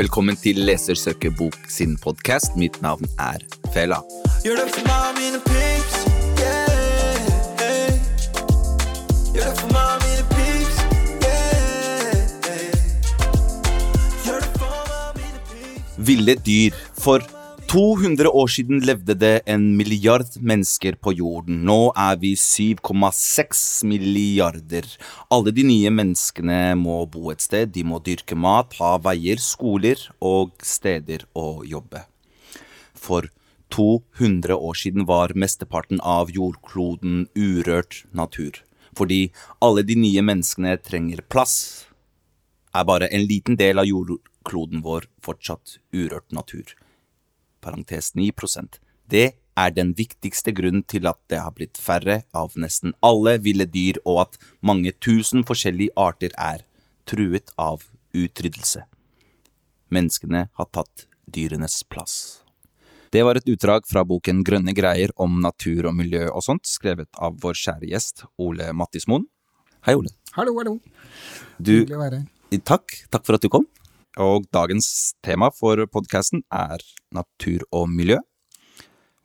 Velkommen til Lesersøkerbok sin podkast. Mitt navn er Fela. Gjør det for meg og mine pips. Yeah, hey. Gjør det for meg og mine pips. Yeah, hey. Gjør det for meg og mine pips. Ville dyr. For 200 år siden levde det en milliard mennesker på jorden. Nå er vi 7,6 milliarder. Alle de nye menneskene må bo et sted. De må dyrke mat, ha veier, skoler og steder å jobbe. For 200 år siden var mesteparten av jordkloden urørt natur. Fordi alle de nye menneskene trenger plass, er bare en liten del av jordkloden vår fortsatt urørt natur. Parentes 9 Det er den viktigste grunnen til at det har blitt færre av nesten alle ville dyr, og at mange tusen forskjellige arter er truet av utryddelse. Menneskene har tatt dyrenes plass. Det var et utdrag fra boken Grønne greier om natur og miljø og sånt, skrevet av vår kjære gjest Ole Mattismoen. Hei, Ole. Hallo, hallo. Du, Hyggelig å være her. takk. Takk for at du kom. Og dagens tema for podkasten er natur og miljø.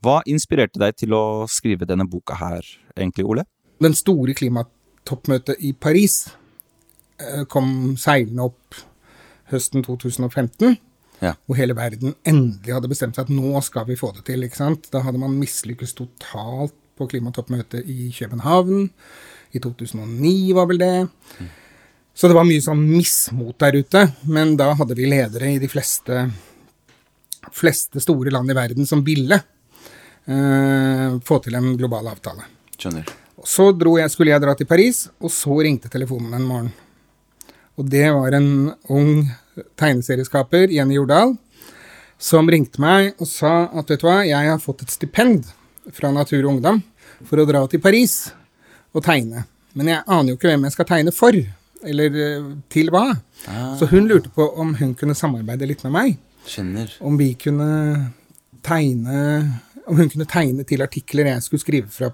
Hva inspirerte deg til å skrive denne boka her, egentlig, Ole? Den store klimatoppmøtet i Paris eh, kom seilende opp høsten 2015, Ja. hvor hele verden endelig hadde bestemt seg at nå skal vi få det til. ikke sant? Da hadde man mislykkes totalt på klimatoppmøtet i København. I 2009 var vel det. Så det var mye sånn mismot der ute, men da hadde vi ledere i de fleste, fleste store land i verden som ville eh, få til en global avtale. Skjønner. Så dro jeg, skulle jeg dra til Paris, og så ringte telefonen en morgen. Og det var en ung tegneserieskaper, Jenny Jordal, som ringte meg og sa at vet du hva, jeg har fått et stipend fra Natur og Ungdom for å dra til Paris og tegne. Men jeg aner jo ikke hvem jeg skal tegne for, eller eh, til hva. Så hun lurte på om hun kunne samarbeide litt med meg Skjønner. om vi kunne tegne Om hun kunne tegne til artikler jeg skulle skrive fra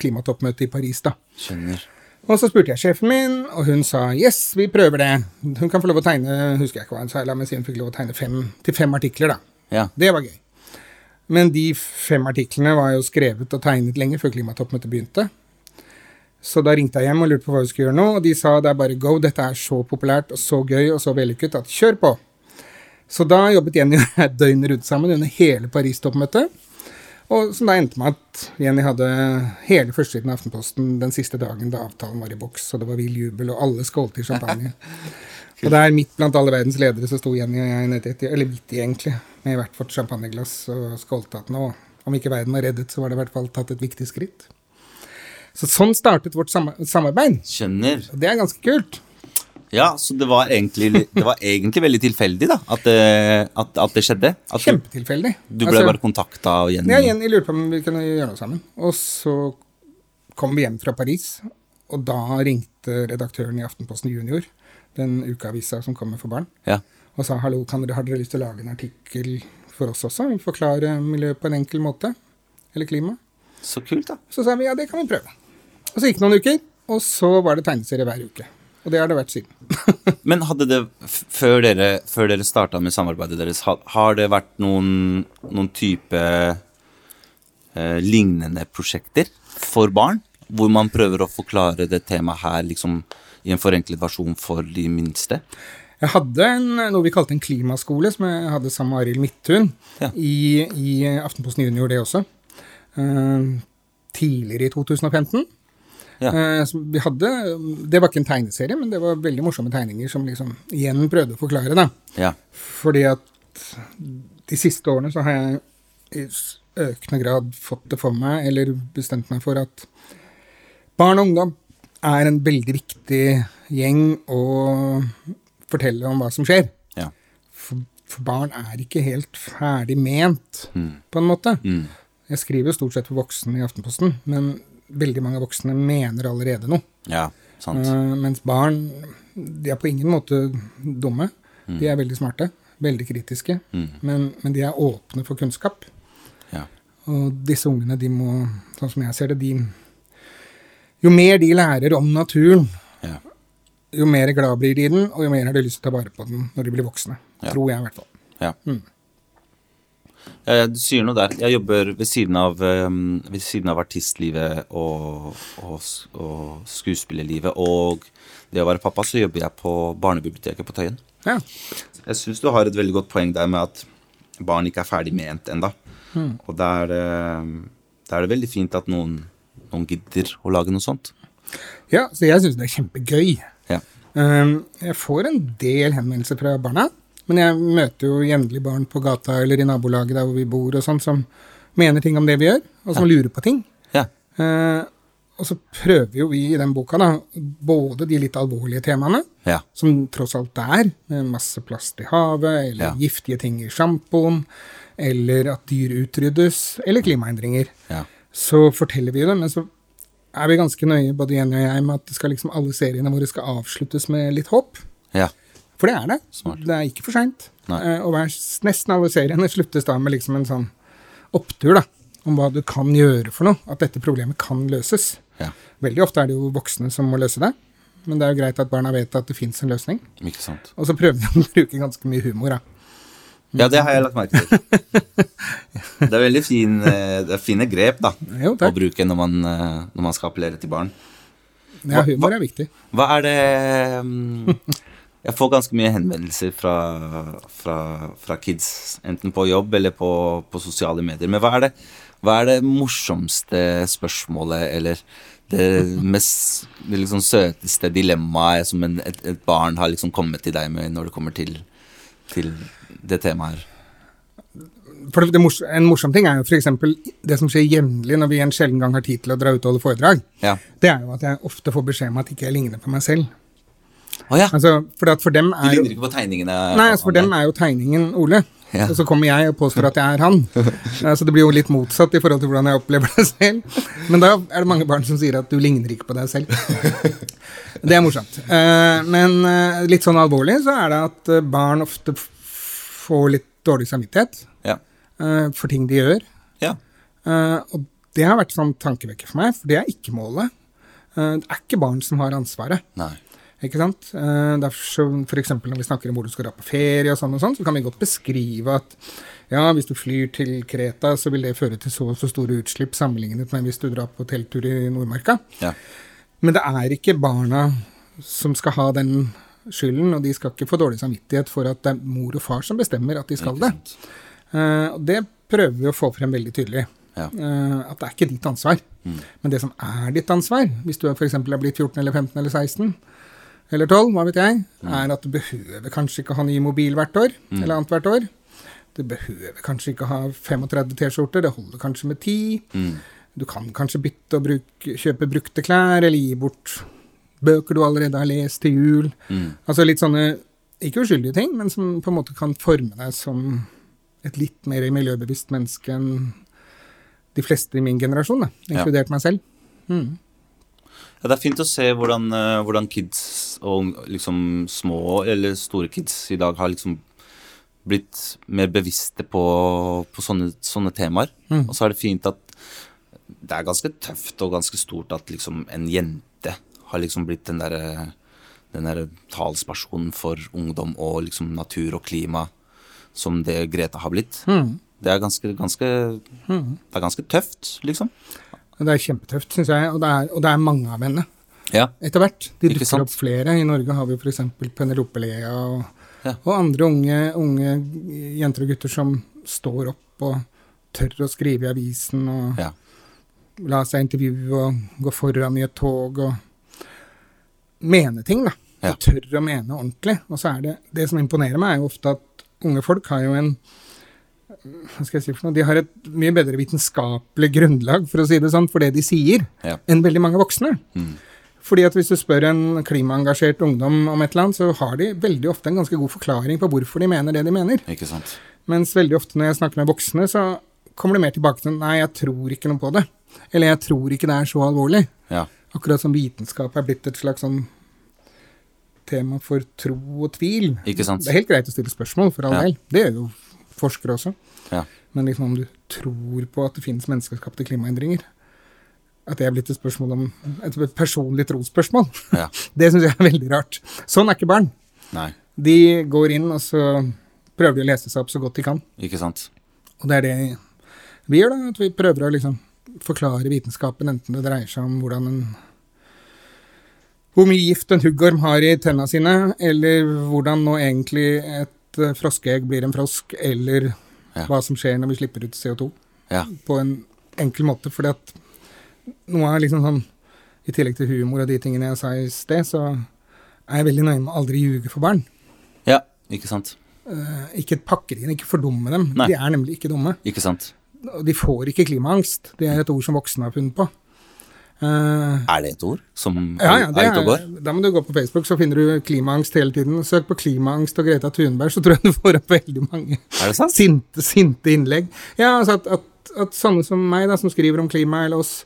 klimatoppmøtet i Paris, da. Skjønner. Og så spurte jeg sjefen min, og hun sa yes, vi prøver det. Hun kan få lov å tegne husker jeg ikke hva hun sa, la meg si hun fikk lov å tegne fem, til fem artikler, da. Ja. Det var gøy. Men de fem artiklene var jo skrevet og tegnet lenge før klimatoppmøtet begynte. Så da ringte jeg hjem og lurte på hva vi skulle gjøre nå, og de sa det er bare go, dette er så populært og så gøy og så vellykket at kjør på. Så da jobbet Jenny og jeg døgnet rundt sammen under hele Paris-toppmøtet. Og som da endte med at Jenny hadde hele førstesiden av Aftenposten den siste dagen da avtalen var i boks, og det var vill jubel, og alle skålte i champagne. Og der midt blant alle verdens ledere så sto Jenny og jeg nede etter, eller midt i egentlig, med hvert vårt champagneglass og skålte at nå, om ikke verden var reddet, så var det i hvert fall tatt et viktig skritt. Så sånn startet vårt sam samarbeid. Skjønner. Og det er ganske kult. Ja, så det var egentlig, det var egentlig veldig tilfeldig, da, at det, at, at det skjedde? At du, Kjempetilfeldig. du ble Altså, bare kontakta av Jenny? Ja, Jenny lurte på om vi kunne gjøre noe sammen. Og så kom vi hjem fra Paris, og da ringte redaktøren i Aftenposten Junior, den ukeavisa som kommer for barn, Ja. og sa hallo, kan dere, har dere lyst til å lage en artikkel for oss også? Forklare miljøet på en enkel måte? Eller klima? Så kult, da. Så sa vi ja, det kan vi prøve. Og så gikk det noen uker, og så var det tegneserie hver uke. Og det har det vært siden. Men hadde det, f- før dere, før dere starta med samarbeidet deres, ha- har det vært noen, noen type eh, lignende prosjekter for barn? Hvor man prøver å forklare det temaet her liksom, i en forenklet versjon for de minste? Jeg hadde en, noe vi kalte en klimaskole, som jeg hadde sammen med Arild Midthun Ja. i, i Aftenposten Junior, det også. Eh, tidligere i 2015. Ja. Eh, som vi hadde, det var ikke en tegneserie, men det var veldig morsomme tegninger som liksom igjen prøvde å forklare. da. Ja. Fordi at de siste årene så har jeg i s- økende grad fått det for meg, eller bestemt meg for at barn og ungdom er en veldig viktig gjeng å fortelle om hva som skjer. ja. For, for barn er ikke helt ferdig ment, Mm. på en måte. Jeg skriver jo stort sett for voksne i Aftenposten, men veldig mange voksne mener allerede noe. Ja, sant. Eh, mens barn, de er på ingen måte dumme. Mm. De er veldig smarte, veldig kritiske, men, men de er åpne for kunnskap. Ja. Og disse ungene, de må, sånn som jeg ser det, de Jo mer de lærer om naturen, Ja. jo mer glad blir de i den, og jo mer har de lyst til å ta vare på den når de blir voksne. Ja. Tror jeg, i hvert fall. Ja. Eh, Du sier noe der. Jeg jobber ved siden av, eh, ved siden av artistlivet og, og, s- og skuespillerlivet og det å være pappa, så jobber jeg på barnebiblioteket på Tøyen. Ja. Jeg syns du har et veldig godt poeng der med at barn ikke er ferdig ment ennå. Og da er, det- da er det veldig fint at noen, noen gidder å lage noe sånt. ja, så jeg syns det er kjempegøy. Ja. Ehm, jeg får en del henvendelser fra barna, men jeg møter jo jevnlig barn på gata eller i nabolaget der hvor vi bor og sånn, som mener ting om det vi gjør, og som lurer på ting. ja. Eh, og så prøver jo vi i den boka da, både de litt alvorlige temaene, Ja. som tross alt det er, med masse plast i havet, eller Ja. giftige ting i sjampoen, eller at dyr utryddes, eller klimaendringer. Ja. Så forteller vi jo det, men så er vi ganske nøye, både Jenny og jeg, med at det skal liksom, alle seriene våre skal avsluttes med litt håp. ja. For det er det. Smart. Det er ikke for seint. Nei. Og hver, nesten alle seriene sluttes da med liksom en sånn opptur da, om hva du kan gjøre for noe. At dette problemet kan løses. ja. Veldig ofte er det jo voksne som må løse det. Men det er jo greit at barna vet at det fins en løsning. Ikke sant. Og så prøver vi å bruke ganske mye humor, da. Ja, det har jeg lagt merke til. Det er veldig fin, eh, det er fine grep da, Jo, å takk. bruke når man, eh, når man skal appellere til barn. Ja, hva- humor er viktig. Hva er det mm, Jeg får ganske mye henvendelser fra, fra, fra kids, enten på jobb eller på, på sosiale medier. Men hva er, det, hva er det morsomste spørsmålet, eller det mest det liksom søteste dilemmaet som en, et, et barn har liksom kommet til deg med når det kommer til, til det temaet her? For det, det mors En morsom ting er jo f.eks. det som skjer jevnlig når vi en sjelden gang har tid til å dra ut og holde foredrag. Ja. Det er jo at jeg ofte får beskjed om at ikke jeg ligner på meg selv. Å ja! Altså, for, at for dem De er jo ligner ikke på tegningene. Nei, altså for dem er jo tegningen Ole. Ja. Og så kommer jeg og påstår at jeg er han. Eh, Så det blir jo litt motsatt i forhold til hvordan jeg opplever det selv. Men da er det mange barn som sier at du ligner ikke på deg selv. Det er morsomt. Eh, Men eh, litt sånn alvorlig så er det at eh, barn ofte f- får litt dårlig samvittighet Ja. eh, for ting de gjør. ja. Eh, Og det har vært sånn tankevekker for meg, for det er ikke målet. Eh, Det er ikke barn som har ansvaret. Nei. Ikke sant? Eh, Derfor så for eksempel når vi snakker om hvor du skal dra på ferie, og sånn og sånn, så kan vi godt beskrive at ja, hvis du flyr til Kreta, så vil det føre til så og så store utslipp sammenlignet med hvis du drar på telttur i Nordmarka. Ja. Men det er ikke barna som skal ha den skylden, og de skal ikke få dårlig samvittighet for at det er mor og far som bestemmer at de skal Ikke det. sant. Eh, Og det prøver vi å få frem veldig tydelig. Ja. Eh, At det er ikke ditt ansvar. Men det som er ditt ansvar, hvis du f.eks. er blitt 14 eller 15 eller 16 eller 12, hva vet jeg, er at du behøver kanskje ikke ha ny mobil hvert år eller annethvert år. Du behøver kanskje ikke ha 35 T-skjorter, det holder kanskje med 10. Du kan kanskje bytte og bruke, kjøpe brukte klær, eller gi bort bøker du allerede har lest til jul. Mm. Altså litt sånne ikke uskyldige ting, men som på en måte kan forme deg som et litt mer miljøbevisst menneske enn de fleste i min generasjon, da, Ja. inkludert meg selv. Ja, det er fint å se hvordan, eh, hvordan kids og ung- liksom små eller store kids i dag har liksom blitt mer bevisste på, på sånne, sånne temaer. Og så er det fint at det er ganske tøft og ganske stort at liksom en jente har liksom blitt den derre den der talspersonen for ungdom og liksom natur og klima som det Greta har blitt. Det er ganske, ganske Det er ganske tøft, liksom. Og det er kjempetøft, syns jeg, og det er, og det er mange av henne Ja. etter hvert. De Ikke dukker sant? opp flere. I Norge har vi f.eks. Penelope Lea og, Ja. og andre unge, unge jenter og gutter som står opp og tør å skrive i avisen og ja. la seg intervjue og gå foran i et tog og mene ting, da. Ja. Og tør å mene ordentlig. Og så er det Det som imponerer meg, er jo ofte at unge folk har jo en Hva skal jeg si for noe? De har et mye bedre vitenskapelig grunnlag, for å si det sånn, for det de sier, Ja. Mm, enn veldig mange voksne. Fordi at hvis du spør en klimaengasjert ungdom om et eller annet, så har de veldig ofte en ganske god forklaring på hvorfor de mener det de mener. Ikke sant. Mens veldig ofte når jeg snakker med voksne, så kommer det mer tilbake til nei, jeg tror ikke noe på det. Eller jeg tror ikke det er så alvorlig. Ja. Akkurat som vitenskap er blitt et slags sånn tema for tro og tvil. Ikke sant. Det er helt greit å stille spørsmål, for all Ja. del. Det gjør jo forskere også. Ja. Men liksom om du tror på at det finnes menneskeskapte klimaendringer at det er blitt et spørsmål om et personlig trosspørsmål. Ja. Det syns jeg er veldig rart. Sånn er ikke barn. Nei, De går inn, og så prøver de å lese seg opp så godt de kan. ikke sant? Og det er det vi gjør, da. At vi prøver å liksom forklare vitenskapen, enten det dreier seg om hvordan en Hvor mye gift en huggorm har i tenna sine, eller hvordan nå egentlig et eh, froskeegg blir en frosk, eller Ja. hva som skjer når vi slipper ut CO2 Ja. på en enkel måte. Fordi at noe er liksom sånn I tillegg til humor og de tingene jeg sa i sted, så er jeg veldig nøye med å aldri ljuge for barn. ja, ikke sant? Eh, ikke pakke det inn, ikke fordumme dem. Nei. De er nemlig ikke dumme. Ikke sant? Og de får ikke klimaangst. Det er et ord som voksne har funnet på. Eh, Er det et ord som ja, ja, det er ute og er, går? da må du gå på Facebook, så finner du klimaangst hele tiden. Søk på 'klimaangst' og Greta Thunberg, så tror jeg du får opp veldig mange Er det sant? sinte, sinte innlegg. Ja, altså at, at, at sånne som meg, da, som skriver om klima, eller oss,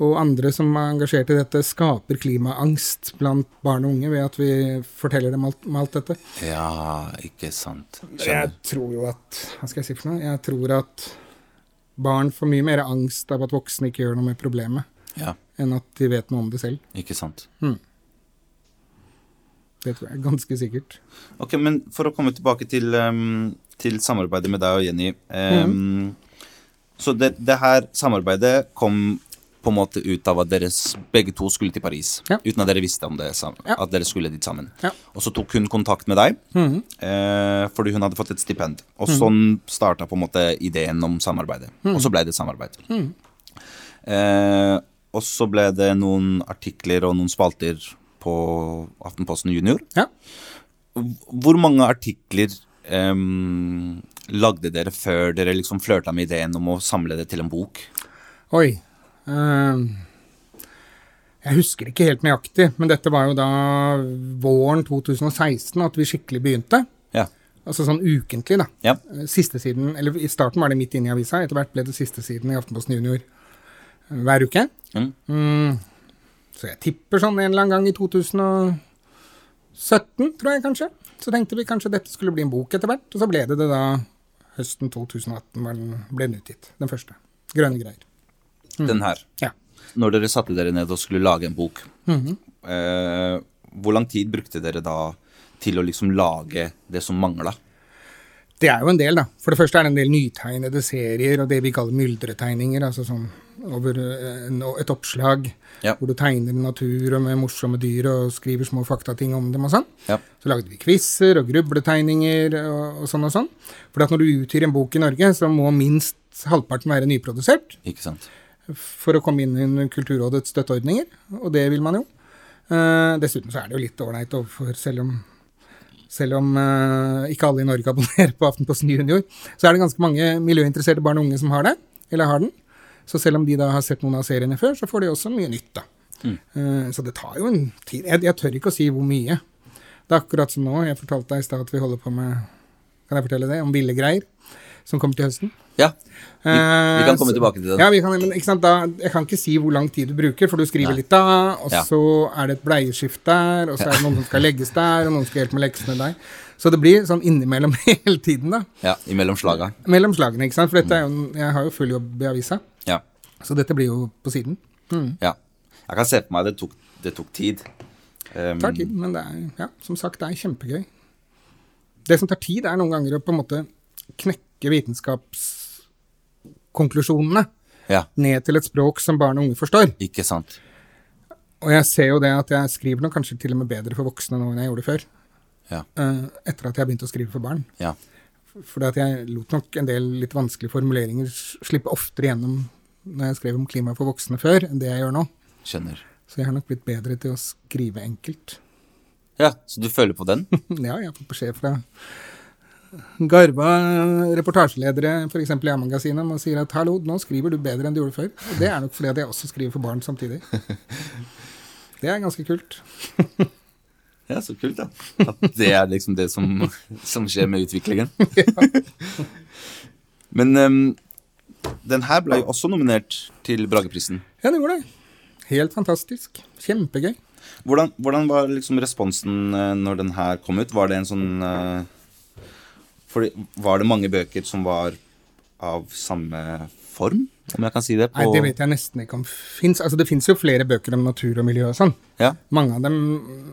og andre som er engasjert i dette, skaper klimaangst blant barn og unge ved at vi forteller dem alt, om alt dette. Ja, ikke sant. Skjønner. Jeg tror jo at Hva skal jeg si for noe? Jeg tror at barn får mye mer angst av at voksne ikke gjør noe med problemet, Ja, enn at de vet noe om det selv. ikke sant. Det tror jeg er ganske sikkert. Ok, men for å komme tilbake til, ehm, til samarbeidet med deg og Jenny. ehm, Så det, det her samarbeidet kom på en måte ut av at dere s- begge to skulle til Paris. Ja. Uten at dere visste om det, sam- Ja. at dere skulle dit sammen. Ja. Og så tok hun kontakt med deg, Mhm. eh, fordi hun hadde fått et stipend. Og sånn starta på en måte ideen om samarbeidet. Mhm. Og så ble det et samarbeid. Eh, og så ble det noen artikler og noen spalter på Aftenposten Junior. Ja. Hvor mange artikler em, lagde dere før dere liksom flørta med ideen om å samle det til en bok? Oi. ehm, jeg husker ikke helt nøyaktig, men dette var jo da våren 2016 at vi skikkelig begynte. Ja. Altså sånn ukentlig, da. Eh, ja. Siste siden, eller I starten var det midt inne i avisa, etter hvert ble det siste siden i Aftenposten Junior eh, hver uke. Mm. Mm. Så jeg tipper sånn en eller annen gang i 2017, tror jeg kanskje. Så tenkte vi kanskje dette skulle bli en bok etter hvert, og så ble det det da høsten 2018 var den, ble den utgitt. Den første. Grønne greier. Mm-hmm. Den her. Ja. Når dere satte dere ned og skulle lage en bok, Mm-hmm. eh, hvor lang tid brukte dere da til å liksom lage det som mangla? Det er jo en del, da. For det første er det en del nytegnede serier og det vi kaller myldretegninger. Altså sånn over eh, en- et oppslag Ja. hvor du tegner natur og med morsomme dyr og skriver små faktating om dem og sånn. Ja. Så lagde vi quizer og grubletegninger og, og sånn og sånn. For at når du utgir en bok i Norge, så må minst halvparten være nyprodusert Ikke sant? for å komme inn under Kulturrådets støtteordninger, og det vil man jo. Eh, dessuten så er det jo litt ålreit overfor, selv om, selv om eh, ikke alle i Norge abonnerer på Aftenposten Junior, så er det ganske mange miljøinteresserte barn og unge som har det, eller har den. Så selv om de da har sett noen av seriene før, så får de også mye nytt, da. Eh, så det tar jo en tid. Jeg, jeg tør ikke å si hvor mye. Det er akkurat som nå. Jeg fortalte deg i stad at vi holder på med Kan jeg fortelle det? Om ville greier, som kommer til høsten. Ja. Vi, vi kan komme Eh, så- tilbake til den. Ja, vi kan, men ikke sant, da, jeg kan ikke si hvor lang tid du bruker, for du skriver litt da, og Ja. så er det et bleieskift der, og så er det noen som skal legges der, og noen skal hjelpe med leksene der. Så det blir sånn innimellom hele tiden, da. Ja, Imellom slaga. Mellom slagene, ikke sant. For dette er jo, en- jeg har jo full jobb i avisa, Ja. så dette blir jo på siden. ja. Jeg kan se på meg det tok, det tok tid. Em, Det tar tid, men det er, ja, som sagt, det er kjempegøy. Det som tar tid, er noen ganger å på en måte knekke vitenskapskonklusjonene Ehm, ja. ned til et språk som barn og unge forstår. Ikke sant. Og jeg ser jo det at jeg skriver nok kanskje til og med bedre for voksne nå enn jeg gjorde før. Ja. eh, etter at jeg begynte å skrive for barn. Ja. Fordi at jeg lot nok en del litt vanskelige formuleringer s- slippe oftere gjennom når jeg skrev om klima for voksne før, enn det jeg gjør nå. Skjønner. Så jeg har nok blitt bedre til å skrive enkelt. Ja, Så du føler på den? ja, jeg har fått beskjed fra garva reportasjeledere f.eks. i A-magasinet og sier at 'hallo, nå skriver du bedre enn du gjorde før'. Og det er nok fordi at jeg også skriver for barn samtidig. Det er ganske kult. Ja, så kult, da. At det er liksom det som, som skjer med utviklingen. Men em, den her ble jo også nominert til Brageprisen. Ja, det gjorde det. Helt fantastisk. Kjempegøy. Hvordan, hvordan var liksom responsen eh, når den her kom ut? Var det en sånn eh, fordi, Var det mange bøker som var av samme form? om jeg kan si det. På, Nei, det vet jeg nesten ikke om fins. Altså, det fins jo flere bøker om natur og miljø og sånn. Ja. Mange av dem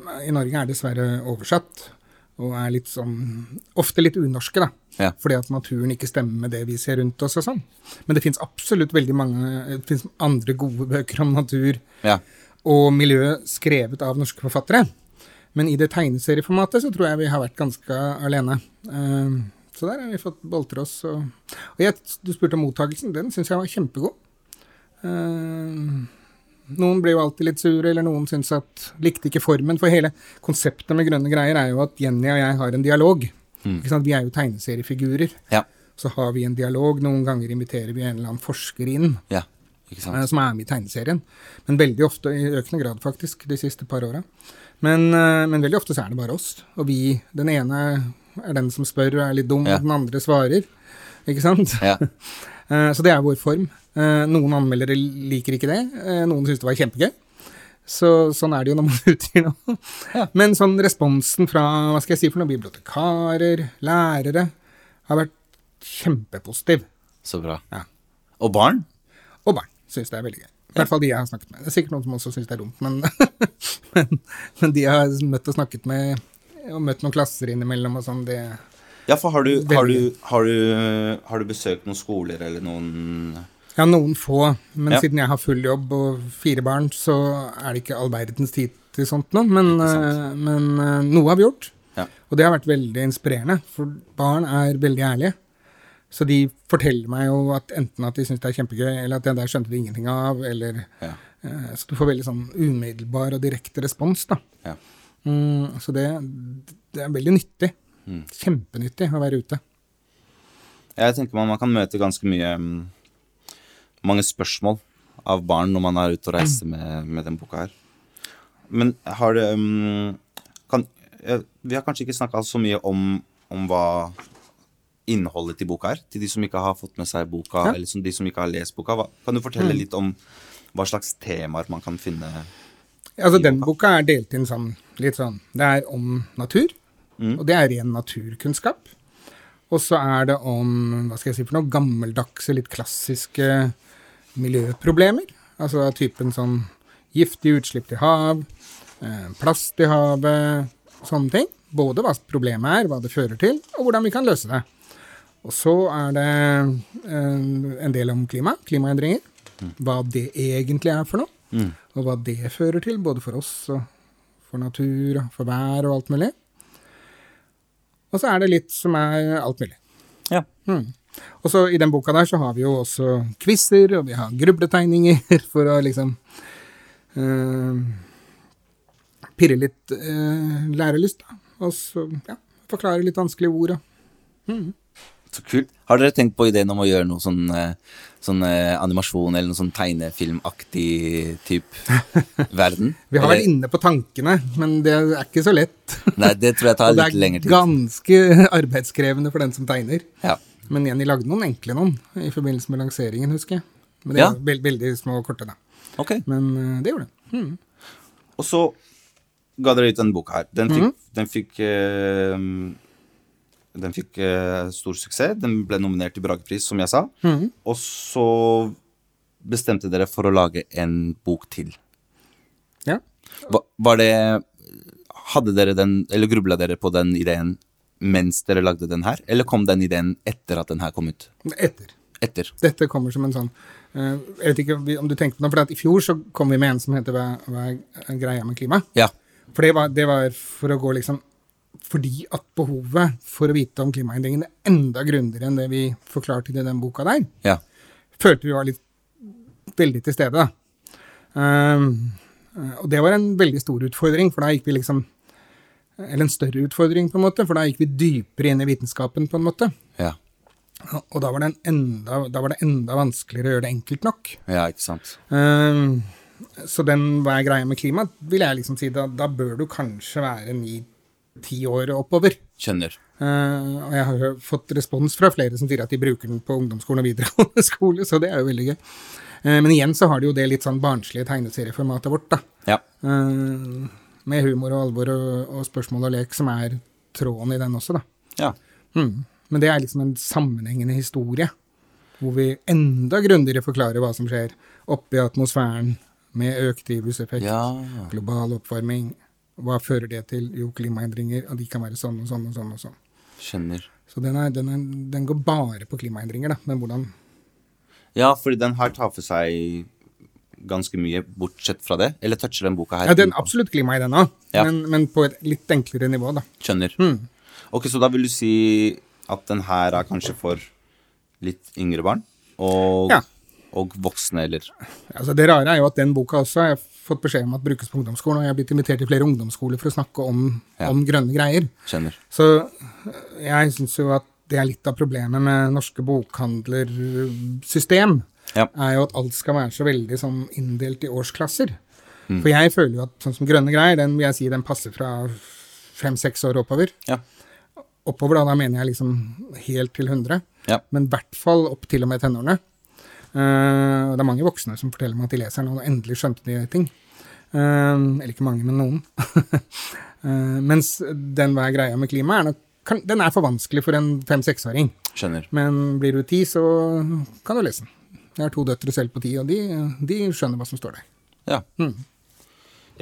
eh, i Norge er dessverre oversatt, og er litt sånn Ofte litt unorske, da. Ja. Fordi at naturen ikke stemmer med det vi ser rundt oss og sånn. Men det fins absolutt veldig mange eh, Det fins andre gode bøker om natur Ja. og miljø skrevet av norske forfattere. Men i det tegneserieformatet så tror jeg vi har vært ganske alene. Eh, Så der har vi fått boltre oss. Og, og jeg, du spurte om mottakelsen. Den syns jeg var kjempegod. Eh, Noen ble jo alltid litt sure, eller noen syns at likte ikke formen. For hele konseptet med Grønne greier er jo at Jenny og jeg har en dialog. Ikke sant? Vi er jo tegneseriefigurer. ja. Så har vi en dialog. Noen ganger inviterer vi en eller annen forsker inn Ja. Ikke sant. eh, som er med i tegneserien. Men veldig ofte, i økende grad faktisk, de siste par åra. Men, eh, men veldig ofte så er det bare oss. Og vi, den ene er den som spør og er litt dum, Ja. og den andre svarer. Ikke sant? Ja. Eh, Så det er vår form. Eh, Noen anmeldere liker ikke det, eh, noen syns det var kjempegøy. Så, sånn er det jo når man utgir noe. Men sånn responsen fra hva skal jeg si for noen bibliotekarer, lærere, har vært kjempepositiv. Så bra. Ja. Og barn? Og barn syns det er veldig gøy. I hvert fall de jeg har snakket med. Det er sikkert noen som også syns det er dumt, men, men, men de jeg har møtt og snakket med, og møtt noen klasser innimellom og sånn, det Ja, for har du, Veldig. har, du, har, du, har du besøkt noen skoler eller noen Ja, noen få, men Ja. siden jeg har full jobb og fire barn, så er det ikke all verdens tid til sånt nå. Men, eh, men eh, noe har vi gjort, Ja. og det har vært veldig inspirerende, for barn er veldig ærlige. Så de forteller meg jo at enten at de syns det er kjempegøy, eller at det der skjønte de ingenting av, eller Ja. eh, Så du får veldig sånn umiddelbar og direkte respons, da. Ja. Mm, så det, det er veldig nyttig. Kjempenyttig å være ute. Jeg tenker man, man kan møte ganske mye mm, mange spørsmål av barn når man er ute og reiser med, med den boka her. Men har det mm, kan, eh, Vi har kanskje ikke snakka så mye om, om hva innholdet til boka er, til de som ikke har fått med seg boka, Ja. Mm. eller som, de som ikke har lest boka. Hva, kan du fortelle litt om hva slags temaer man kan finne? Altså, den boka er delt inn sånn, litt sånn Det er om natur, og det er ren naturkunnskap. Og så er det om hva skal jeg si for noe, gammeldagse, litt klassiske miljøproblemer. Altså av typen sånn giftige utslipp til hav, eh, plast i havet, sånne ting. Både hva problemet er, hva det fører til, og hvordan vi kan løse det. Og så er det eh, en del om klima, klimaendringer. Hva det egentlig er for noe, og hva det fører til, både for oss og for natur og for vær og alt mulig. Og så er det litt som er alt mulig. Ja. Mm. Og så i den boka der så har vi jo også quizer, og vi har grubletegninger for å liksom eh, pirre litt eh, lærelyst, da. Og så ja, forklare litt vanskelige ord. og Så kult. Har dere tenkt på ideen om å gjøre noe sånn, eh, sånn eh, animasjon eller noe sånn tegnefilmaktig type verden? Vi har Eller- vært inne på tankene, men det er ikke så lett. Nei, det tror jeg tar Og det litt lengre er tid. ganske arbeidskrevende for den som tegner. Ja. Men Jenny lagde noen enkle noen i forbindelse med lanseringen, husker jeg. Men det Ja. var veld veldig små og korte, da. Ok. Men eh, det gjorde det. Mm. Og så ga dere ut denne boka her. Den fikk, den fikk, eh, den fikk eh, stor suksess. Den ble nominert til Bragepris, som jeg sa. Og så bestemte dere for å lage en bok til. Ja. Hva, var det Hadde dere den, eller grubla dere på den ideen mens dere lagde den her? Eller kom den ideen etter at den her kom ut? Etter. Etter. Dette kommer som en sånn eh, Jeg vet ikke om du tenkte på noe, for at i fjor så kom vi med en som heter Hva, hva er greia med klima? Ja. For det var, det var for å gå liksom Fordi at behovet for å vite om klimaendringene er enda grundigere enn det vi forklarte i den boka der. Ja. følte vi var litt veldig til stede, da. Ehm, eh, og det var en veldig stor utfordring, for da gikk vi liksom Eller en større utfordring, på en måte, for da gikk vi dypere inn i vitenskapen, på en måte. Ja, Og- Og da var det, en enda, da var det enda vanskeligere å gjøre det enkelt nok. ja ikke sant. Ehm, så den hva er greia med klima, vil jeg liksom si, da, da bør du kanskje være ni-ti år og oppover. Skjønner. Eh, og jeg har jo fått respons fra flere som sier at de bruker den på ungdomsskolen og videregående skole, så det er jo veldig gøy. Eh, men igjen så har de jo det litt sånn barnslige tegneserieformatet vårt, da. Ja. Eh, med humor og alvor og, og spørsmål og lek, som er tråden i den også, da. Hmm. ja. Mm. Men det er liksom en sammenhengende historie. hvor vi enda grundigere forklarer hva som skjer oppe i atmosfæren med økt drivhuseffekt, Ja. global oppvarming. Hva fører det til? Jo, klimaendringer, og de kan være sånn og sånn og sånn. og sånn. Skjønner. Så den, er, den, er, den går bare på klimaendringer, da. Men hvordan Ja, fordi den her tar for seg ganske mye, bortsett fra det. Eller toucher den boka her. Ja, den er absolutt klima i den òg, Ja. men, men på et litt enklere nivå, da. Skjønner. Mm. Ok, så da vil du si at den her er kanskje for litt yngre barn? Og, Ja. og voksne, eller? Altså, det rare er jo at den boka også har jeg fått beskjed om at brukes på ungdomsskolen, og jeg har blitt invitert til flere ungdomsskoler for å snakke om, Ja. om grønne greier. Skjønner. Så øh, jeg syns jo at det er litt av problemet med norske bokhandlersystem, Ja. er jo at alt skal være så veldig sånn inndelt i årsklasser. Mm. For jeg føler jo at sånn som grønne greier, den vil jeg si den passer fra fem-seks år oppover. Ja. Oppover, da, da mener jeg liksom helt til 100. ja. Men i hvert fall opp til og med tenårene. Eh, og det er mange voksne som forteller meg at de leser den, og endelig skjønte de ting. Eh, eller ikke mange, men noen. Eh, mens den hva er greia med klima, er nok kan, Den er for vanskelig for en fem-seksåring. Skjønner. Men blir du ti, så kan du lese den. Jeg har to døtre selv på ti, og de, de skjønner hva som står der. Ja.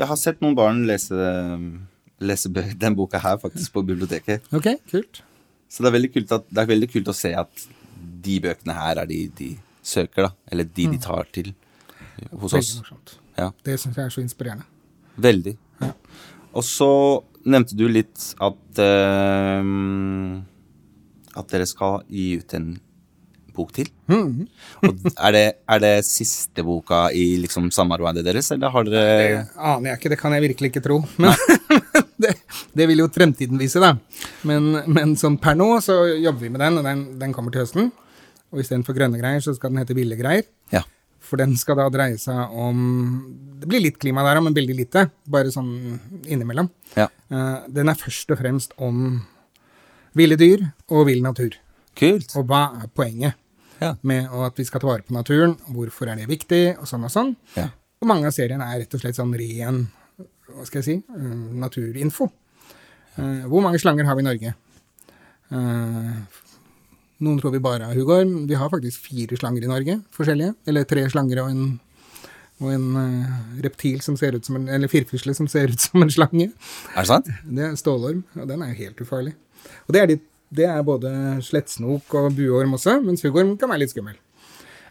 Jeg har sett noen barn lese, lese bø- den boka her, faktisk, på biblioteket. Ok, kult. Så det er veldig kult, at, det er veldig kult å se at de bøkene her er de de søker, da. Eller de de tar til hos oss. Veldig morsomt. Ja. Det syns jeg er så inspirerende. Veldig. Og så nevnte du litt at ehm, At dere skal gi ut en bok til. Og er det, er det siste boka i liksom samarbeidet deres, eller har dere Aner jeg ikke, det kan jeg virkelig ikke tro. Men det, det vil jo fremtiden vise, da. Men, men sånn per nå så jobber vi med den, og den, den kommer til høsten. Og istedenfor grønne greier, så skal den hete ville greier. Ja. For den skal da dreie seg om Det blir litt klima der òg, men veldig lite. Bare sånn innimellom. ja. Eh, den er først og fremst om ville dyr og vill natur. Kult. Og hva er poenget Ja. med å- at vi skal ta vare på naturen? Hvorfor er det viktig? Og sånn og sånn. Ja. Og mange av seriene er rett og slett sånn ren hva skal jeg si, eh, naturinfo. Eh, hvor mange slanger har vi i Norge? Eh, noen tror vi bare har huggorm. Vi har faktisk fire slanger i Norge, forskjellige. Eller tre slanger og en, og en eh, reptil som ser ut som en, eller firfisle som ser ut som en slange. Er det sant? Det er stålorm, og den er jo helt ufarlig. Og det er, de, det er både slettsnok og buorm også, mens huggorm kan være litt skummel.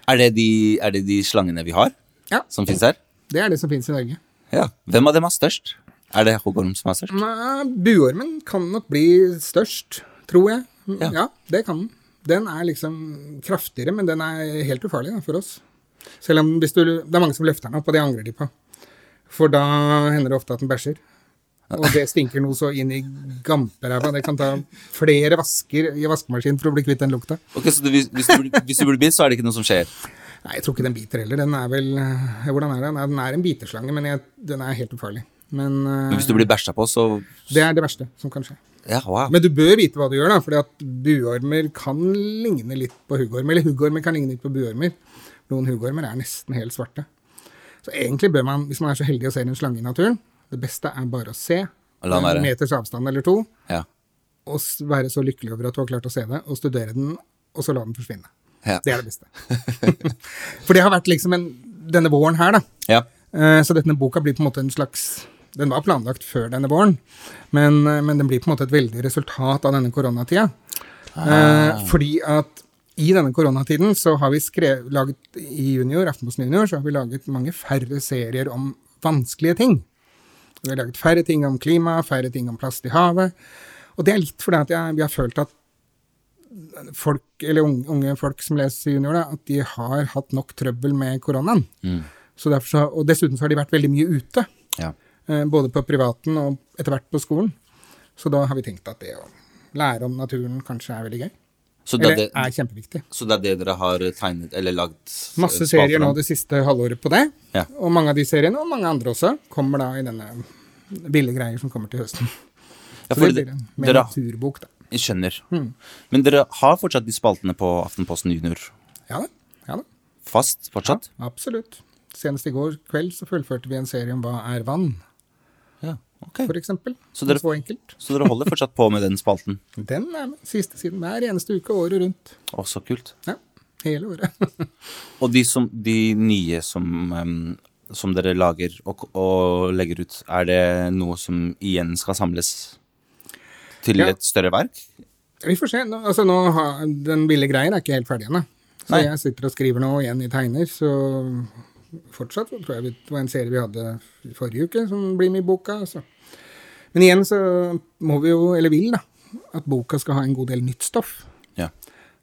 Er det de, er det de slangene vi har, Ja, som fins her? det er det som finnes i Norge. Ja. Hvem av dem er størst? Er det Hoggorm som er størst? Nei, Buormen kan nok bli størst, tror jeg. Ja. Ja. det kan den. Den er liksom kraftigere, men den er helt ufarlig da, for oss. Selv om hvis du, det er mange som løfter den opp, og det angrer de på. For da hender det ofte at den bæsjer. Og det stinker noe så inn i gamperæva. Det kan ta flere vasker i vaskemaskinen for å bli kvitt den lukta. Ok, så du, hvis, hvis du blir- hvis du blir bitt, så er det ikke noe som skjer? Nei, jeg tror ikke den biter heller. Den er vel ja, Hvordan er den? Nei, Den er en biteslange, men jeg, den er helt ufarlig. Men, Men hvis du blir bæsja på, så eh, det er det verste som kan skje. Ja, wow. Men du bør vite hva du gjør, da, fordi at buormer kan ligne litt på huggormer. Eller huggormer kan ligne litt på buormer. Noen huggormer er nesten helt svarte. Så egentlig bør man, hvis man er så heldig å se en slange i naturen, det beste er bare å se. Og la den være. En meters avstand eller to. Ja. Og s- være så lykkelig over at du har klart å se det, og studere den, og så la den forsvinne. Ja. Det er det beste. For det har vært liksom en, denne våren her, da. ja. Eh, Så denne boka blir på en måte en slags Den var planlagt før denne våren, men, eh, men den blir på en måte et veldig resultat av denne koronatida. Eh, fordi at i denne koronatiden så har vi skrevet, laget i junior, Aftenposten junior, så har vi laget mange færre serier om vanskelige ting. Vi har laget færre ting om klima, færre ting om plast i havet. Og det er litt fordi at jeg, vi har følt at folk, eller unge, unge folk som leser junior, da, at de har hatt nok trøbbel med koronaen. Mm. Så derfor så, og dessuten så har de vært veldig mye ute, ja. eh, både på privaten og etter hvert på skolen. Så da har vi tenkt at det å lære om naturen kanskje er veldig gøy. Så det, er Eller det, er kjempeviktig. så det er det dere har tegnet eller lagd eh, Masse serier nå det siste halvåret på det. Ja. Og mange av de seriene, og mange andre også, kommer da i denne ville greier som kommer til høsten. Ja, Så for det det, blir en mer dere, naturbok, da. jeg skjønner. Men dere har fortsatt de spaltene på Aftenposten Junior Ja da. Ja da. fast? Fortsatt? Absolutt. Senest i går kveld så fullførte vi en serie om hva er vann, Ja, ok. for eksempel. Så dere- Så enkelt. Så dere holder fortsatt på med den spalten? Den er med siste siden hver eneste uke året rundt. Å, så kult. Ja. Hele året. Og de, som, de nye som, em, som dere lager og, og legger ut, er det noe som igjen skal samles til Ja. et større verk? Vi får se. Nå, altså, nå har, den ville greien er ikke helt ferdig ennå. Så Nei. jeg sitter og skriver nå og igjen i tegner, så fortsatt så tror jeg vi- det var en serie vi hadde i forrige uke som blir med i boka. Altså. Men igjen så må vi jo, eller vil da, at boka skal ha en god del nytt stoff. Ja.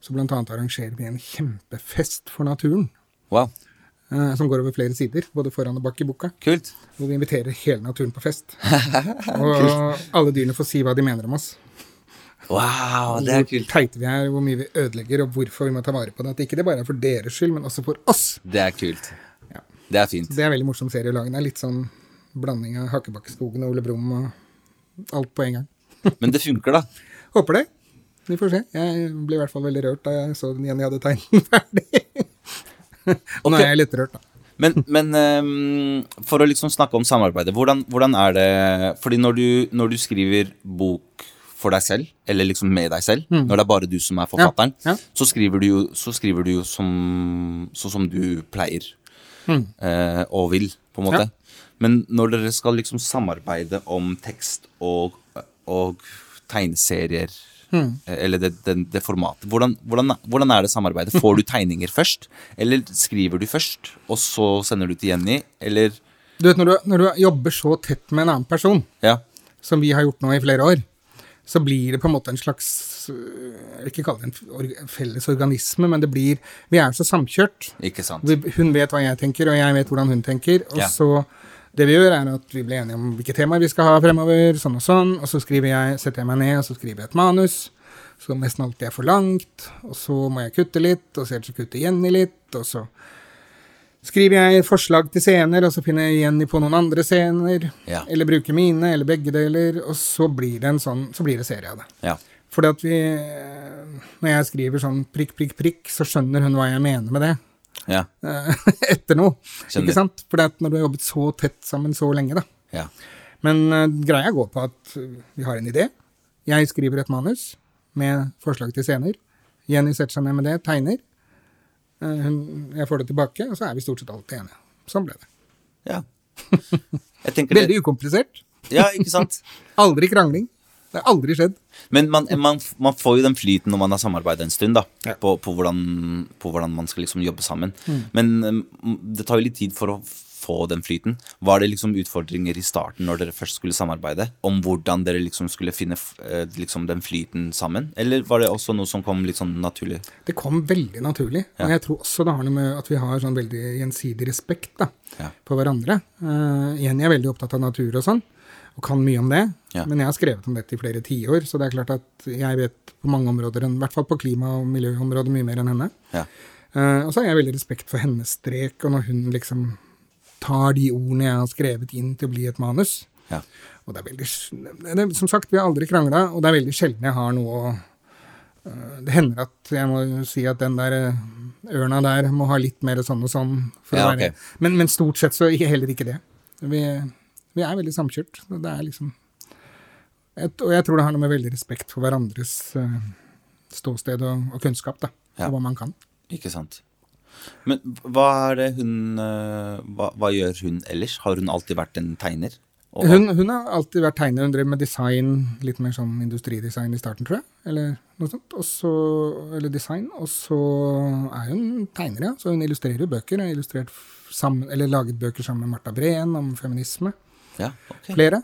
Så blant annet arrangerer vi en kjempefest for naturen, Wow, eh, som går over flere sider, både foran og bak i boka. kult. Hvor vi inviterer hele naturen på fest. Og alle dyrene får si hva de mener om oss. Wow, det er hvor kult. teite vi er, hvor mye vi ødelegger, og hvorfor vi må ta vare på det. At ikke det bare er for deres skyld, men også for oss. Det er kult. Det er fint. Det er en veldig morsom serie å lage. Det er litt sånn blanding av Hakkebakkeskogen og Ole Brumm og alt på en gang. Men det funker, da. Håper det. Vi får se. Jeg ble i hvert fall veldig rørt da jeg så den igjen jeg hadde tegnet den ferdig. Og nå Ok. er jeg litt rørt, da. Men, men ehm, for å liksom snakke om samarbeidet, hvordan, hvordan er det Fordi når du, når du skriver bok for deg selv, eller liksom med deg selv, når det er bare du som er forfatteren, Mm. ja. Så, skriver du jo, så skriver du jo som, sånn som du pleier eh, og vil, på en måte. Hmm. Ja. Men når dere skal liksom samarbeide om tekst og, og tegneserier Hmm. eh, Eller det, det, det formatet. Hvordan, hvordan, hvordan er det samarbeidet? Får du tegninger først? Eller skriver du først, og så sender du til Jenny? Eller Du vet, når du, når du jobber så tett med en annen person, Ja. som vi har gjort nå i flere år, så blir det på en måte en slags øh, Jeg vil ikke kalle det en f- org- felles organisme, men det blir Vi er så samkjørt. Ikke sant? Vi, hun vet hva jeg tenker, og jeg vet hvordan hun tenker. Og Ja. så Det vi gjør, er at vi blir enige om hvilke temaer vi skal ha fremover, sånn og sånn, og så skriver jeg, setter jeg meg ned, og så skriver jeg et manus. Som nesten alltid er for langt, og så må jeg kutte litt, og så ellers så kutter Jenny litt, og så skriver jeg forslag til scener, og så finner jeg Jenny på noen andre scener, Ja. eller bruker mine, eller begge deler, og så blir det en sånn, så blir det serie av det. Ja. Fordi at vi, eh, når jeg skriver sånn prikk, prikk, prikk, så skjønner hun hva jeg mener med det Ja. eh, etter noe. Skjønner. Ikke sant? For når du har jobbet så tett sammen så lenge, da. ja. Men eh, greia går på at eh, vi har en idé. Jeg skriver et manus med forslag til scener. Jenny setter seg ned med det, tegner. Eh, hun, jeg får det tilbake, og så er vi stort sett alltid enige. Sånn ble det. ja. Jeg tenker det Veldig ukomplisert. Ja, ikke sant? Aldri krangling. Det har aldri skjedd. Men man, man, man får jo den flyten når man har samarbeidet en stund, da. Ja. Mm. På, på, hvordan, på hvordan man skal liksom jobbe sammen. Men um, det tar jo litt tid for å få den flyten. Var det liksom utfordringer i starten når dere først skulle samarbeide, om hvordan dere liksom skulle finne f- eh, liksom den flyten sammen? Eller var det også noe som kom litt sånn naturlig? Det kom veldig naturlig. Og jeg tror også det har noe med at vi har sånn veldig gjensidig respekt da, Ja. for hverandre. Uh, Jenny er veldig opptatt av natur og sånn, og kan mye om det. Ja. Men jeg har skrevet om dette i flere tiår, så det er klart at jeg vet på mange områder, enn- i hvert fall på klima- og miljøområdet, mye mer enn henne. Ja. Eh, og så har jeg veldig respekt for hennes strek, og når hun liksom tar de ordene jeg har skrevet inn til å bli et manus. Ja. Og det er veldig, sj- det, er- som sagt, vi har aldri krangla, og det er veldig sjelden jeg har noe å øh, Det hender at jeg må jo si at den der øh, ørna der må ha litt mer sånn og sånn. For Ja, å være, ok. men, men stort sett så ikke- heller ikke det. Vi, vi er veldig samkjørt. og Det er liksom et, Og jeg tror det har noe med veldig respekt for hverandres øh, ståsted og, og kunnskap, da. Ja. Og hva man kan. Ikke sant. Men hva er det hun eh, hva, hva gjør hun ellers? Har hun alltid vært en tegner? Og- Hun, hun har alltid vært tegner. Hun drev med design, litt mer sånn industridesign i starten, tror jeg. Eller noe sånt. Og så- eller design. Og så er hun tegner, ja. Så hun illustrerer bøker. Hun har illustrert f- sammen, eller laget bøker sammen med Marta Breen om feminisme. Ja, ok. Flere.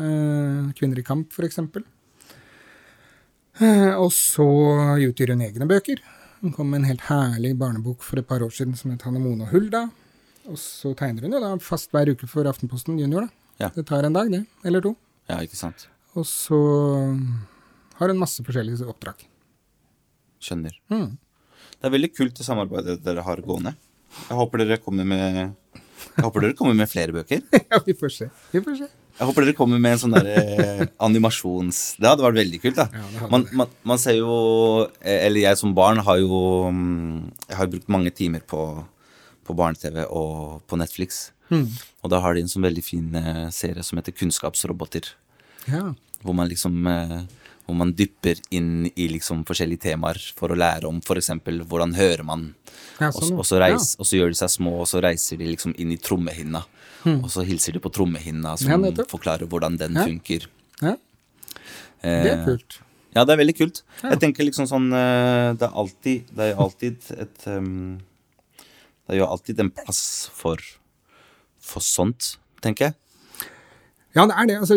Eh, Kvinner i kamp, for eksempel. Eh, og så utgir hun egne bøker. Hun kom med en helt herlig barnebok for et par år siden som het Hanne Mone og Hulda. Og så tegner hun jo da fast hver uke for Aftenposten Junior, da. Ja. Det tar en dag, det. Eller to. Ja, ikke sant. Og så mm, har hun masse forskjellige oppdrag. Skjønner. Mm. Det er veldig kult det samarbeidet dere har gående. Jeg håper dere kommer med jeg håper dere kommer med flere bøker. ja, vi får se. Vi får se. Jeg håper dere kommer med en sånn der eh, animasjons... Det hadde vært veldig kult, da. Ja, det hadde man, det. man, man ser jo eh, Eller jeg som barn har jo mm, Jeg har brukt mange timer på, på barne-TV og på Netflix. Hmm. Og da har de en sånn veldig fin eh, serie som heter Kunnskapsroboter. Ja. Hvor man liksom eh, hvor hvor man dypper inn i liksom forskjellige temaer for å lære om f.eks. hvordan hører man, Ja, og, s- sånn, ja. og, så reis, og så gjør de seg små, og så reiser de liksom inn i trommehinna. Og så hilser de på trommehinna, som Hmm. Ja, nettopp. forklarer hvordan den Ja. funker. Eh, Ja, det er kult. Ja, det er veldig kult. Jeg tenker liksom sånn eh, Det er alltid, det er jo alltid et ehm, Det er jo alltid en plass for, for sånt, tenker jeg. Ja, det er det. Altså,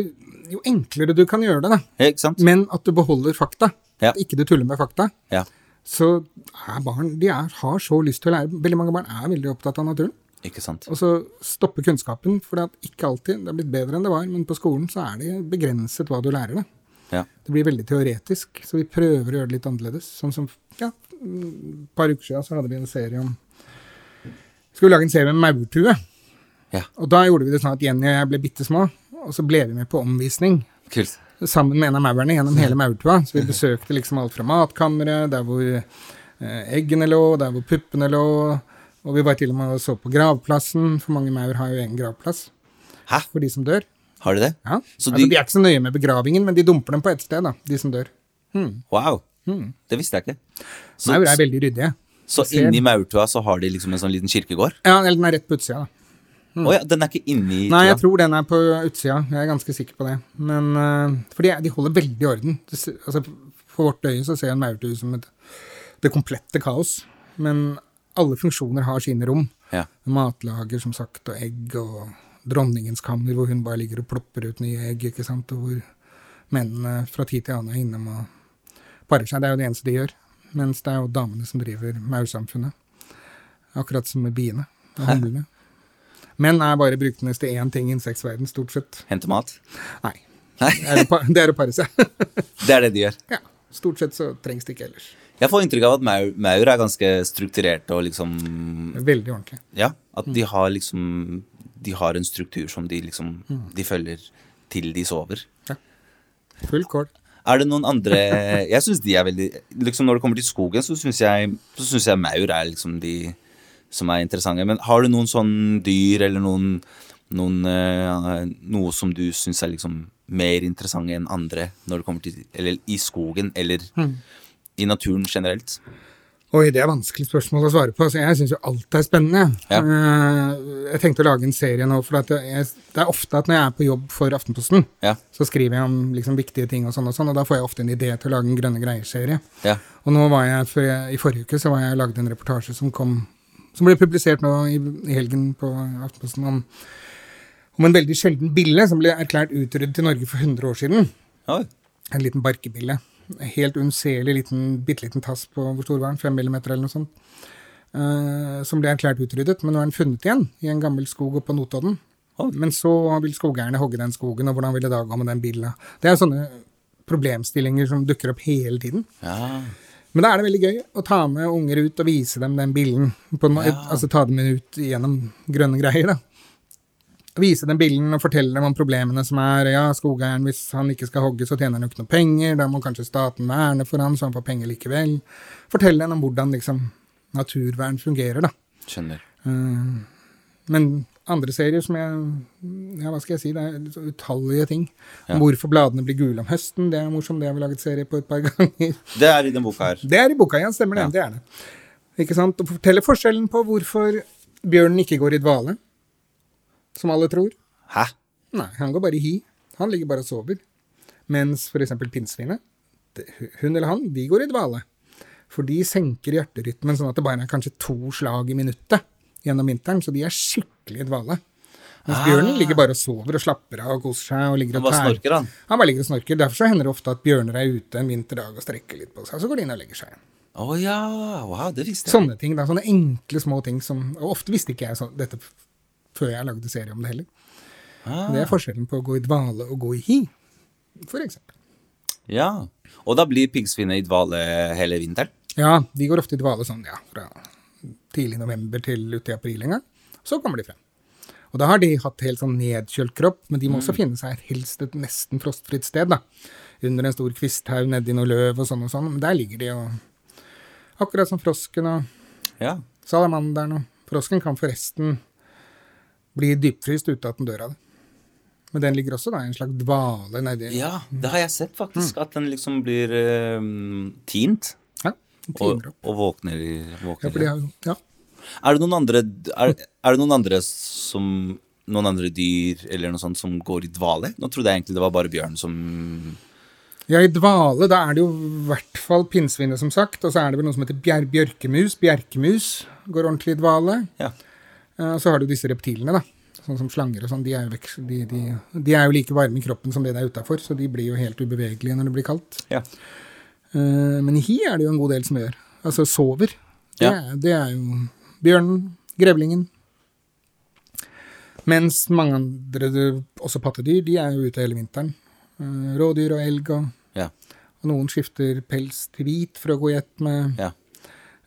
jo enklere du kan gjøre det, da, Ja, Ikke sant? men at du beholder fakta, Ja. at ikke du tuller med fakta, Ja, så er barn De er, har så lyst til å lære. Veldig mange barn er veldig opptatt av naturen. ikke sant. Og så stoppe kunnskapen, for det at ikke alltid det er blitt bedre enn det var, men på skolen så er det begrenset hva du lærer, da. Ja. Det blir veldig teoretisk, så vi prøver å gjøre det litt annerledes. Sånn som ja, et par uker siden så hadde vi en serie om Skulle lage en serie med maurtue. Ja. Og da gjorde vi det sånn at Jenny og jeg ble bitte små, og så ble vi med på omvisning Kult. sammen med en av maurene gjennom Mm. hele maurtua. Så vi besøkte liksom alt fra matkammeret, der hvor eh, eggene lå, der hvor puppene lå. Og vi var til og med og så på gravplassen, for mange maur har jo egen gravplass Hæ? for de som dør. Har de det? Ja. Så altså, de- de er ikke så nøye med begravingen, men de dumper dem på ett sted, da, de som dør. Wow. Hmm. Det visste jeg ikke. Så, Maur er veldig ryddige. så ser- inni maurtua så har de liksom en sånn liten kirkegård? Ja, eller den er rett på utsida, da. Å ja, den er ikke inni Hmm. Nei, jeg tua? tror den er på utsida. Jeg er ganske sikker på det. Men, eh, for de, er- de holder veldig i orden. Det ser- altså, for vårt øye så ser en maurtue ut som et, det komplette kaos. Men alle funksjoner har sine rom. Ja. Matlager, som sagt, og egg, og dronningens kammer, hvor hun bare ligger og plopper ut nye egg, ikke sant, og hvor mennene fra tid til annen er innom og parer seg. Det er jo det eneste de gjør. Mens det er jo damene som driver maursamfunnet. Akkurat som med biene og humlene. Menn er bare brukt ned til én ting i insektverden, stort sett. Hente mat? Nei. Nei, Det er å pa- det er å pare seg. det er det de gjør. ja. Stort sett så trengs det ikke ellers. Jeg får inntrykk av at maur, maur er ganske strukturert og liksom Veldig ordentlig. Ja, at Hmm. de har liksom De har en struktur som de liksom Hmm. De følger til de sover. Full kål. Er det noen andre Jeg syns de er veldig Liksom Når det kommer til skogen, så syns jeg, så synes jeg maur er liksom de som er interessante. Men har du noen sånne dyr eller noen, noen eh, Noe som du syns er liksom mer interessante enn andre når det kommer til Eller i skogen, eller i naturen generelt? Oi, det er vanskelig spørsmål å svare på. Altså, jeg syns jo alt er spennende. Ja. Eh, jeg tenkte å lage en serie nå, for at jeg, det er ofte at når jeg er på jobb for Aftenposten, Ja. så skriver jeg om liksom, viktige ting og sånn og sånn, og da får jeg ofte en idé til å lage en Grønne greier-serie. Ja. Og nå var jeg, for jeg, i forrige uke så var jeg og lagde en reportasje som kom som ble publisert nå i, i helgen på Aftenposten om, om en veldig sjelden bille som ble erklært utryddet i Norge for 100 år siden. Oi. En liten barkebille. En Helt unnselig liten, bitte liten tass på hvor stor var den? 5 millimeter eller noe sånt. Eh, som ble erklært utryddet, men nå er den funnet igjen i en gammel skog oppe på Notodden. Oi. Men så vil skogeierne hogge den skogen, og hvordan vil det da gå med den billa? Det er sånne problemstillinger som dukker opp hele tiden. Ja. Men da er det veldig gøy å ta med unger ut og vise dem den billen. På en, må- Altså ta dem ut gjennom grønne greier, da. Vise dem billen og fortelle dem om problemene som er. Ja, skogeieren, hvis han ikke skal hogge, så tjener han jo ikke noe penger. Da må kanskje staten verne for han, så han får penger likevel. Fortelle dem om hvordan liksom, naturvern fungerer, da. Skjønner. Eh, Men andre serier som jeg Ja, hva skal jeg si? Det er så utallige ting. Ja. Hvorfor bladene blir gule om høsten, det er morsomt. Det har vi laget serie på et par ganger. Det er i den boka her. Det er i boka, ja. Stemmer det. Det er det. Ikke sant? Og fortelle forskjellen på hvorfor bjørnen ikke går i dvale, som alle tror. Hæ? Nei, han går bare i hi. Han ligger bare og sover. Mens f.eks. pinnsvinet, det- hun eller han, de går i dvale. For de senker hjerterytmen sånn at det bare er kanskje to slag i minuttet gjennom vinteren, så de er skikkelig i dvale. Mens bjørnen ligger bare og sover og slapper av og koser seg. og Ah. ligger Han og bare tær. snorker, han. Han bare ligger og snorker. Derfor så hender det ofte at bjørner er ute en vinterdag og strekker litt på seg, så går de inn og legger seg igjen. Å ja. Wow, det visste jeg. Sånne ting, da, sånne enkle små ting som Og ofte visste ikke jeg så, dette f- før jeg lagde serie om det heller. Det er forskjellen på å gå i dvale og gå i hi, for eksempel. Ja. Og da blir piggsvinet i dvale hele vinteren? Ja, de går ofte i dvale sånn, ja, fra tidlig november til uti april en gang. Så kommer de frem. Og da har de hatt helt sånn nedkjølt kropp, men de må også finne seg et helst et nesten frostfritt sted, da. Under en stor kvisthaug nedi noe løv og sånn og sånn. Men der ligger de og Akkurat som frosken og Ja. Salamanderen og frosken kan forresten bli dypfryst uten at den dør av det. Men den ligger også da i en slags dvale nedi Ja, det har jeg sett faktisk. Mm. At den liksom blir eh, tint. Ja, den Og, timer opp. og våkner, i- Ja, våkner. for de i- har jo Ja. Er det noen andre er, er det noen andre som Noen andre dyr eller noe sånt som går i dvale? Nå trodde jeg egentlig det var bare bjørn som Ja, i dvale, da er det jo i hvert fall pinnsvinet, som sagt. Og så er det vel noe som heter bjer bjørkemus. Bjerkemus går ordentlig i dvale. Ja. Eh, Og så har du disse reptilene, da. Sånn som slanger og sånn. De er, jo veks- de, de, de er jo like varme i kroppen som det det er utafor, så de blir jo helt ubevegelige når det blir kaldt. ja. Eh, Men hi er det jo en god del som gjør. Altså sover. Det, Ja. er, det er jo bjørnen, grevlingen. Mens mange andre, også pattedyr, de er jo ute hele vinteren. Eh, Rådyr og elg og Ja. og noen skifter pels til hvit for å gå i ett med, ja.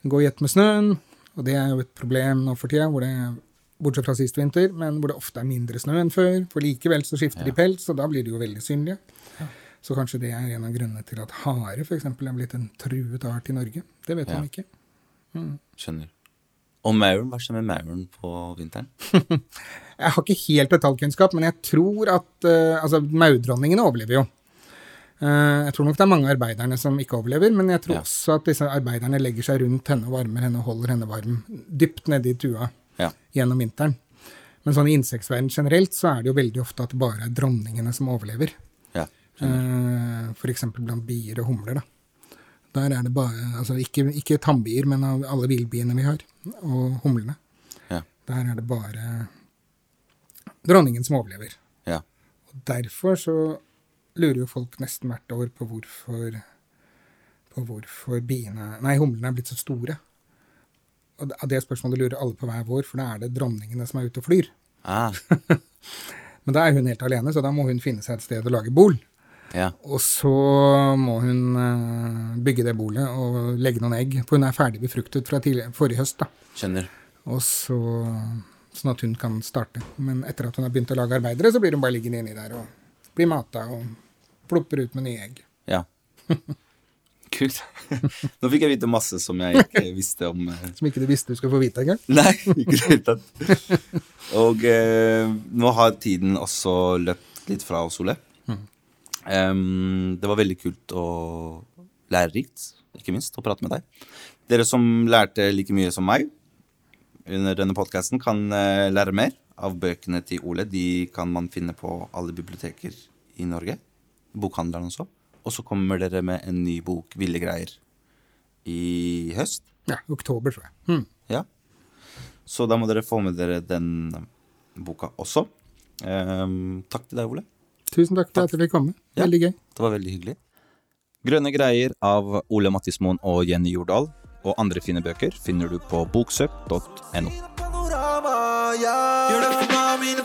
gå i ett med snøen. Og det er jo et problem nå for tida, hvor det, bortsett fra sist vinter, men hvor det ofte er mindre snø enn før. For likevel så skifter de pels, og da blir de jo veldig synlige. Så kanskje det er en av grunnene til at hare f.eks. er blitt en truet art i Norge. Det vet Ja. man ikke. Skjønner. Og mauren, hva skjer med mauren på vinteren? Jeg har ikke helt detaljkunnskap, men jeg tror at eh, altså, maurdronningene overlever jo. Eh, jeg tror nok det er mange arbeiderne som ikke overlever, men jeg tror Ja. også at disse arbeiderne legger seg rundt henne og varmer henne og holder henne varm dypt nede i tua Ja. gjennom vinteren. Men sånn i insektverden generelt så er det jo veldig ofte at det bare er dronningene som overlever. ja. Eh, F.eks. blant bier og humler. da. Der er det bare, altså Ikke, ikke tannbier, men av alle villbiene vi har, og humlene. Ja. Der er det bare dronningen som overlever. Ja. Og derfor så lurer jo folk nesten hvert år på hvorfor på hvorfor biene Nei, humlene er blitt så store. Og det- av det spørsmålet lurer alle på hver vår, for da er det dronningene som er ute og flyr. Ah, Men da er hun helt alene, så da må hun finne seg et sted å lage bol. ja. Og så må hun eh, bygge det bolet og legge noen egg, for hun er ferdig befruktet fra tidlig, forrige høst. da. Skjønner. Og så Sånn at hun kan starte. Men etter at hun har begynt å lage arbeidere, så blir hun bare liggende inni der og blir mata og plopper ut med nye egg. Ja. Kult. Nå fikk jeg vite masse som jeg ikke visste om. eh, Som ikke du visste du skulle få vite engang. Nei, ikke i det hele tatt. Og eh, nå har tiden også løpt litt fra oss, Ole. Em, det var veldig kult og lærerikt, ikke minst, å prate med deg. Dere som lærte like mye som meg under denne podkasten, kan eh, lære mer av bøkene til Ole. De kan man finne på alle biblioteker i Norge. Bokhandleren også. Og så kommer dere med en ny bok, Ville greier, i høst. Ja, oktober, tror jeg. Hmm. Ja. Så da må dere få med dere den boka også. Ehm, takk til deg, Ole. Tusen takk for at jeg fikk komme. Ja. Veldig gøy. Det var veldig hyggelig. Grønne greier av Ole Mattismoen og Jenny Jordal og andre fine bøker finner du på boksøk.no. Panorama, ja. Gjør det for meg, min